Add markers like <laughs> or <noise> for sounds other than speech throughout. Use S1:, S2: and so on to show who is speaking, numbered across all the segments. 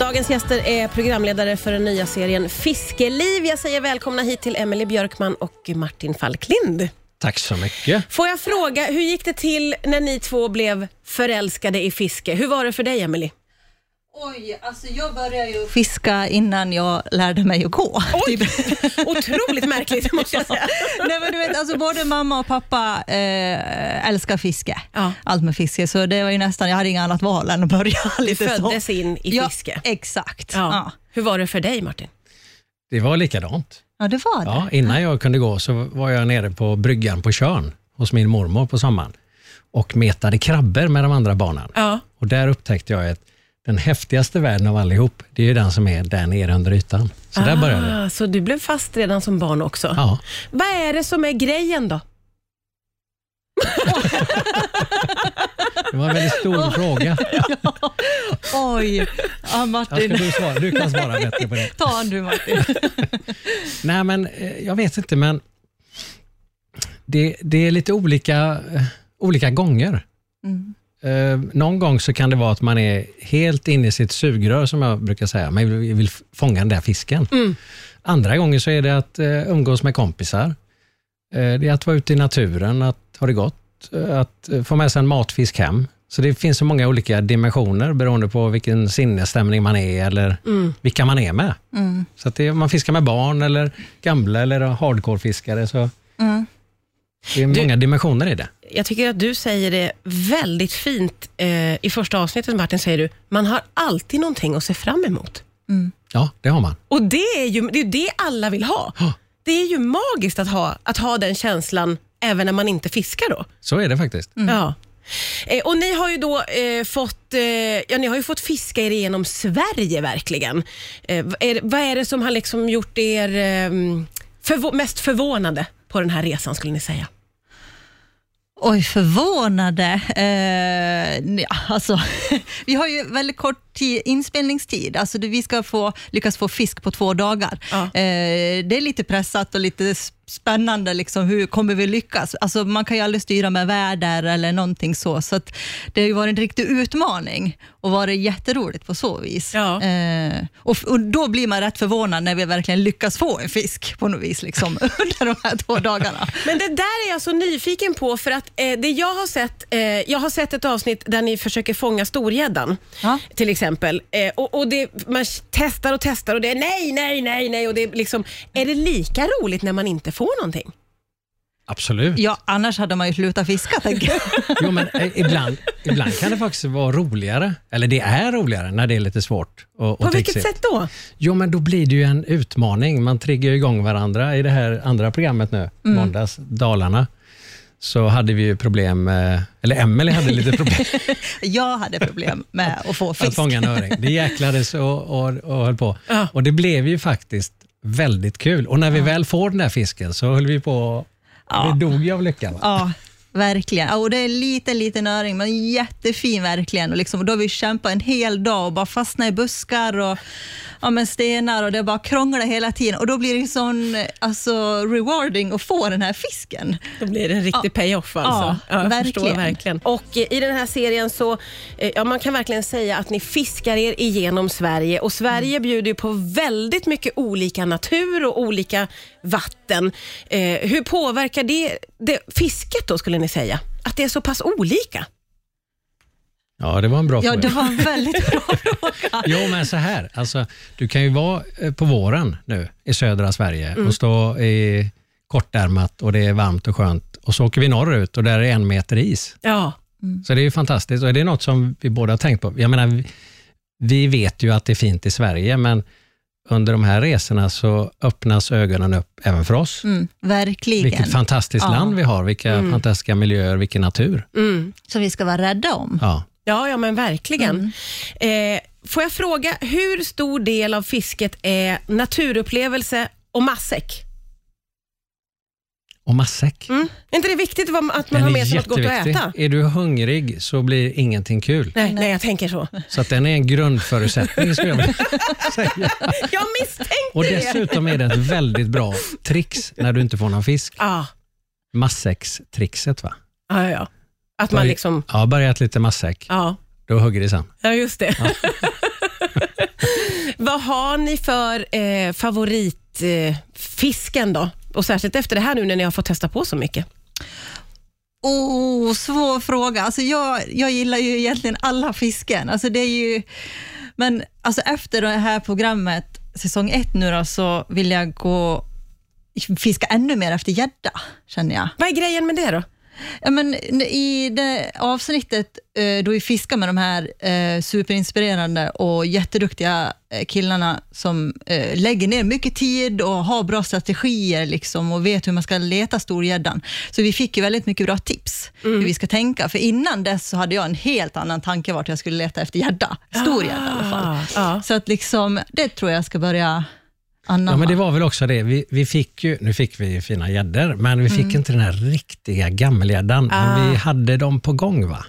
S1: Dagens gäster är programledare för den nya serien Fiskeliv. Jag säger välkomna hit till Emelie Björkman och Martin Falklind.
S2: Tack så mycket.
S1: Får jag fråga, hur gick det till när ni två blev förälskade i fiske? Hur var det för dig, Emelie?
S3: Oj, alltså jag började ju fiska innan jag lärde mig att gå.
S1: Oj, <laughs> otroligt märkligt måste jag säga.
S3: <laughs> Nej, men du vet, alltså både mamma och pappa eh, älskar fiske,
S1: Ja.
S3: allt med fiske, så det var ju nästan, jag hade inget annat val än att börja <laughs> lite
S1: Du
S3: så.
S1: föddes in i fiske.
S3: Ja, exakt.
S1: Ja.
S3: Ja. Ja.
S1: Hur var det för dig, Martin?
S2: Det var likadant.
S3: det var det.
S2: Ja, innan jag kunde gå så var jag nere på bryggan på Tjörn hos min mormor på sommaren och metade krabbor med de andra barnen.
S1: Ja.
S2: Och där upptäckte jag att den häftigaste världen av allihop, det är ju den som är där nere under ytan. Så där började det.
S1: Ah, så du blev fast redan som barn också?
S2: Ja.
S1: Vad är det som är grejen då?
S2: Det var en väldigt stor fråga.
S3: Oj, ja,
S2: Jag ska
S3: Martin.
S2: du, svara. du kan svara bättre på det.
S3: Ta en
S1: <laughs>
S3: du Martin.
S2: Nej, men eh, jag vet inte, men det, det är lite olika, eh, olika gånger.
S3: Mm.
S2: Eh, någon gång så kan det vara att man är helt inne i sitt sugrör, som jag brukar säga. Man vill, vill fånga den där fisken. Andra gånger så är det att eh, umgås med kompisar. Eh, det är att vara ute i naturen, att ha det gott, eh, att eh, få med sig en matfisk hem. Så det finns så många olika dimensioner beroende på vilken sinnesstämning man är eller vilka man är med. Så att det, om man fiskar med barn eller gamla eller hardcore-fiskare så
S3: Mm.
S2: det är
S1: Du-
S2: många dimensioner i det.
S1: Jag tycker att du säger det väldigt fint eh, i första avsnittet, Martin, säger du, man har alltid någonting att se fram emot.
S2: Ja, det har man. <gasps>
S1: Och det är ju det, är ju det alla vill ha.
S2: Ja.
S1: Det är ju magiskt att ha, att ha den känslan även när man inte fiskar då.
S2: Så är det faktiskt.
S1: Ja. Eh, och ni har ju då eh, fått, eh, ja, ni har ju fått fiska er igenom Sverige verkligen. Eh, vad är, vad är det som har liksom gjort er eh, förvå- mest förvånade på den här resan skulle ni säga?
S3: Oj, förvånade. Eh, nja, alltså, <laughs> vi har ju väldigt kort ti- inspelningstid. Alltså, det- vi ska få, lyckas få fisk på två dagar.
S1: Ja.
S3: Eh, det är lite pressat och lite s- spännande. Liksom, hur kommer vi lyckas? Alltså, man kan ju aldrig styra med väder eller någonting så. så att det har ju varit en riktig utmaning och varit jätteroligt på så vis.
S1: Ja.
S3: Eh, och, f- och Då blir man rätt förvånad när vi verkligen lyckas få en fisk på något vis liksom, <laughs> under de här två dagarna.
S1: Men det där är jag så nyfiken på för att eh, det jag har sett, eh, jag har sett ett avsnitt där ni försöker fånga storgäddan
S3: Ja.
S1: till exempel. Eh, och, och det, man testar och testar och det är nej, nej, nej, nej och det är liksom, är det lika roligt när man inte får någonting?
S2: Absolut.
S3: Ja, annars hade man ju slutat fiska, tänker jag.
S2: Jo, men eh, ibland, ibland kan det faktiskt vara roligare, eller det är roligare när det är lite svårt. Och,
S1: På
S2: och
S1: vilket
S2: trixigt.
S1: sätt då?
S2: Jo, men då blir det ju en utmaning. Man triggar ju igång varandra. I det här andra programmet nu,
S3: Mm.
S2: måndags, Dalarna, så hade vi ju problem, eh, eller Emelie hade
S3: <laughs>
S2: lite problem
S3: Jag hade problem med att få
S2: att
S3: fisk.
S2: fånga en öring. Det jäklades och, och, och höll på.
S1: Ja.
S2: Och det blev ju faktiskt väldigt kul. Och när vi väl får den där fisken så höll vi på,
S3: Ja.
S2: vi dog ju av lycka. Va?
S3: Ja, verkligen. Ja, Och det är en liten, liten öring, men jättefin verkligen. Och liksom, och då har vi kämpat en hel dag och bara fastnat i buskar och ja, men stenar och det bara krånglar hela tiden. Och då blir det ju sån alltså, rewarding att få den här fisken.
S1: Då blir det en riktig payoff alltså.
S3: Ja,
S1: jag
S3: verkligen.
S1: förstår verkligen. Och eh, i den här serien så, eh, ja man kan verkligen säga att ni fiskar er igenom Sverige och Sverige bjuder ju på väldigt mycket olika natur och olika vatten. Eh, hur påverkar det, det fisket då skulle ni säga? Att det är så pass olika?
S2: Ja, det var en bra
S3: Ja,
S2: fråga.
S3: det var en väldigt bra <laughs> fråga.
S2: Jo, men så här. Alltså, du kan ju vara eh, på våren nu i södra Sverige
S1: Mm.
S2: och stå i kortärmat och det är varmt och skönt. Och så åker vi norrut och där är en meter is.
S1: Ja.
S2: Så det är ju fantastiskt och det är något som vi båda har tänkt på. Jag menar, vi- vi vet ju att det är fint i Sverige, men under de här resorna så öppnas ögonen upp även för oss.
S3: Mm, verkligen.
S2: Vilket fantastiskt
S3: Ja.
S2: land vi har, vilka fantastiska miljöer, vilken natur.
S1: Mm.
S3: Som vi ska vara rädda om.
S2: Ja.
S1: Ja, ja men verkligen. Eh, får jag fråga, hur stor del av fisket är naturupplevelse och matsäck?
S2: Och matsäck.
S1: Mm. Är inte det viktigt vad- att man
S2: Den
S1: har
S2: är
S1: med sig något gott att
S2: jätteviktig.
S1: äta?
S2: Är du hungrig så blir ingenting kul.
S1: Nej, nej, jag tänker
S3: <laughs>
S1: så.
S2: Så att den är en grundförutsättning skulle jag vilja
S1: <laughs>
S2: säga.
S1: Jag misstänkte
S2: Och
S1: det.
S2: dessutom är det ett väldigt bra trix när du inte får någon fisk.
S1: Ja,
S2: Massäckstrixet va?
S1: ja, ja, ja. Att man
S2: Börj-
S1: liksom,
S2: Ja, börja äta lite massäck,
S1: ja,
S2: då hugger det sen.
S1: ja just det. <laughs> Vad har ni för eh, favoritfisken eh, fisken då? Och särskilt efter det här nu när ni har fått testa på så mycket.
S3: Oh, svår fråga. Alltså jag, jag gillar ju egentligen alla fisken. Alltså det är ju, men alltså efter det här programmet, säsong ett nu då, så vill jag gå fiska ännu mer efter gädda, känner jag.
S1: Vad är grejen med det då?
S3: Ja, men I det avsnittet eh, då vi fiskar med de här eh, superinspirerande och jätteduktiga eh, killarna som eh, lägger ner mycket tid och har bra strategier liksom, och vet hur man ska leta storgäddan. Så vi fick ju väldigt mycket bra tips hur vi ska tänka. För innan dess så hade jag en helt annan tanke vart jag skulle leta efter gädda. Stor gädda i alla fall.
S1: Ah. Ja.
S3: Så att liksom, det tror jag ska börja anamma.
S2: Ja, men det var väl också det. Vi, vi fick ju, nu fick vi ju fina gäddor, men vi fick
S1: Mm.
S2: inte den här riktiga gammelgäddan. Men vi hade dem på gång. va?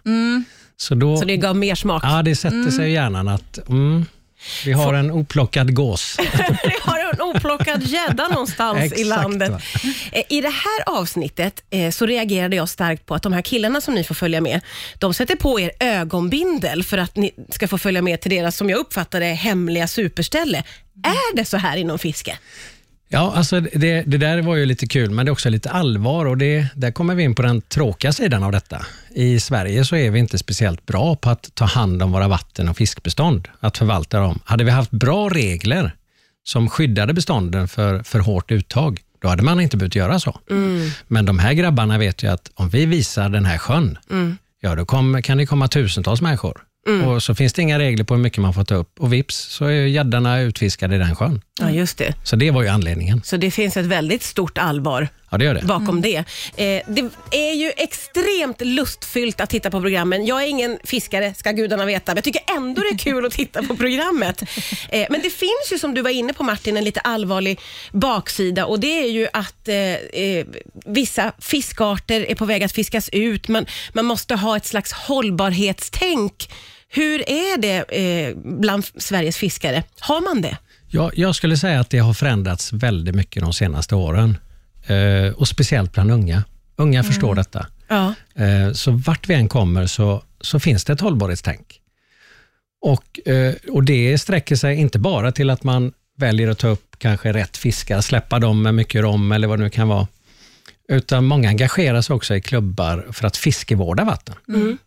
S2: Så då,
S1: Ah. Mm. Så det gav mer smak.
S2: ja, det sätter sig i hjärnan att mm, vi har en oplockad gås.
S1: <laughs> Vi har en oplockad gädda någonstans i
S2: Exakt,
S1: landet.
S2: va?
S1: Eh, I det här avsnittet eh, så reagerade jag starkt på att de här killarna som ni får följa med, de sätter på er ögonbindel för att ni ska få följa med till deras, som jag uppfattar det, hemliga superställe. Är det så här inom fiske?
S2: Ja, alltså det, det där var ju lite kul, men det är också lite allvar och det, där kommer vi in på den tråkiga sidan av detta. I Sverige så är vi inte speciellt bra på att ta hand om våra vatten och fiskbestånd, att förvalta dem. Hade vi haft bra regler som skyddade bestånden för, för hårt uttag, då hade man inte behövt göra så. Men de här grabbarna vet ju att om vi visar den här sjön, ja då kom, kan det komma tusentals människor. Och så finns det inga regler på hur mycket man får ta upp och vips så är ju gäddorna utfiskade i den sjön.
S1: Ja, just det.
S2: Så det var ju anledningen.
S1: Så det finns ett väldigt stort allvar
S2: Ja, det gör det.
S1: bakom det. Eh, det är ju extremt lustfyllt att titta på programmen. Jag är ingen fiskare, ska gudarna veta, men jag tycker ändå det är kul att titta på programmet. Eh, men det finns ju, som du var inne på Martin, en lite allvarlig baksida och det är ju att eh, eh, vissa fiskarter är på väg att fiskas ut. Man, man måste ha ett slags hållbarhetstänk. Hur är det eh, bland Sveriges fiskare? Har man det?
S2: Jag, jag skulle säga att det har förändrats väldigt mycket de senaste åren. Eh, och speciellt bland unga. Unga förstår detta.
S1: Ja.
S2: Eh, så vart vi än kommer så, så finns det ett hållbarhetstänk. Och, eh, och det sträcker sig inte bara till att man väljer att ta upp kanske rätt fiskar, släppa dem med mycket rom eller vad det nu kan vara. Utan många engagerar sig också i klubbar för att fiskevårda vatten.
S1: Mm.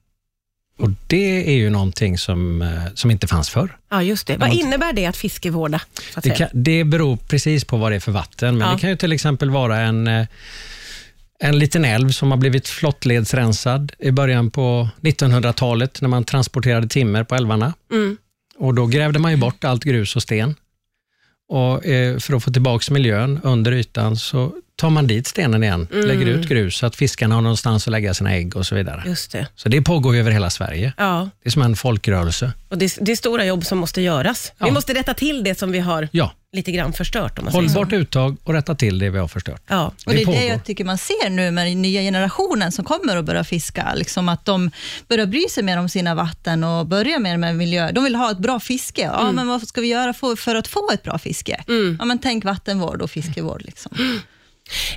S2: Och det är ju någonting som, eh, som inte fanns förr.
S1: Ja, just det. Vad innebär det att fiskevårda? Så att
S2: Det,
S1: säga?
S2: kan, det beror precis på vad det är för vatten, men
S1: Ja.
S2: det kan ju till exempel vara en, eh, en liten älv som har blivit flottledsrensad i början på 1900-talet när man transporterade timmer på älvarna.
S1: Mm.
S2: Och då grävde man ju bort allt grus och sten. Och eh, för att få tillbaka miljön under ytan så tar man dit stenen igen,
S1: Mm.
S2: lägger ut grus så att fiskarna har någonstans att lägga sina ägg och så vidare.
S1: Just det.
S2: Så det pågår ju över hela Sverige.
S1: Ja,
S2: Det är som en folkrörelse.
S1: och det, det är stora jobb som måste göras. Vi
S2: Ja.
S1: måste rätta till det som vi har
S2: Ja,
S1: lite grann förstört. Om man säger.
S2: hållbart uttag och rätta till det vi har förstört.
S1: Ja.
S3: Och det är
S2: pågår.
S3: det jag tycker man ser nu med den nya generationen som kommer och börjar fiska, liksom att de börjar bry sig mer om sina vatten och börjar mer med miljö. De vill ha ett bra fiske. Ja,
S2: Mm.
S3: men vad ska vi göra för, för att få ett bra fiske? Ja, men tänk vattenvård och fiskevård. Liksom.
S2: Mm.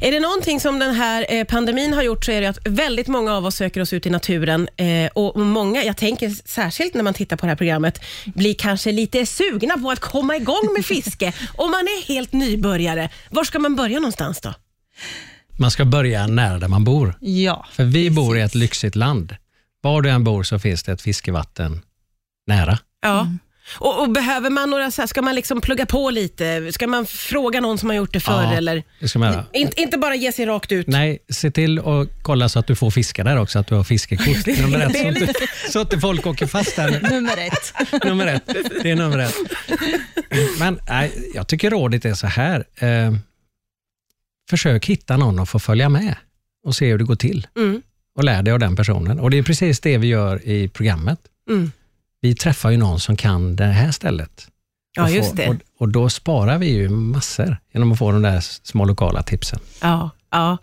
S1: Är det någonting som den här eh, pandemin har gjort så är det att väldigt många av oss söker oss ut i naturen eh, och många, jag tänker särskilt när man tittar på det här programmet, blir kanske lite sugna på att komma igång med fiske om man är helt nybörjare. Var ska man börja någonstans då?
S2: Man ska börja nära där man bor.
S3: Ja.
S2: För vi bor i ett lyxigt land. Var du än bor så finns det ett fiskevatten nära.
S1: Ja. Mm. Och, och behöver man några, så här, ska man liksom plugga på lite? Ska man fråga någon som har gjort det förr?
S2: Ja,
S1: Eller?
S2: Det ska man göra.
S1: Inte- inte bara ge sig rakt ut.
S2: Nej, se till att kolla så att du får fiska där också, att du har fiskekort. Nummer ett, så, inte, <laughs> så att inte folk åker fast där.
S3: Nummer ett.
S2: Nummer ett. Det är nummer ett. Men nej, jag tycker rådet är så här. Eh, försök hitta någon att få följa med och se hur det går till.
S1: Mm.
S2: Och lär dig av den personen. Och det är precis det vi gör i programmet.
S1: Mm.
S2: Vi träffar ju någon som kan det här stället.
S1: Ja,
S2: och få-
S1: just det.
S2: Och, och då sparar vi ju massor genom att få de där små lokala tipsen.
S1: Ja, ja.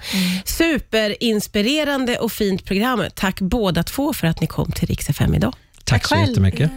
S1: Superinspirerande och fint program. Tack båda två för att ni kom till Rix FM idag.
S2: Tack, så
S3: själv.
S2: jättemycket.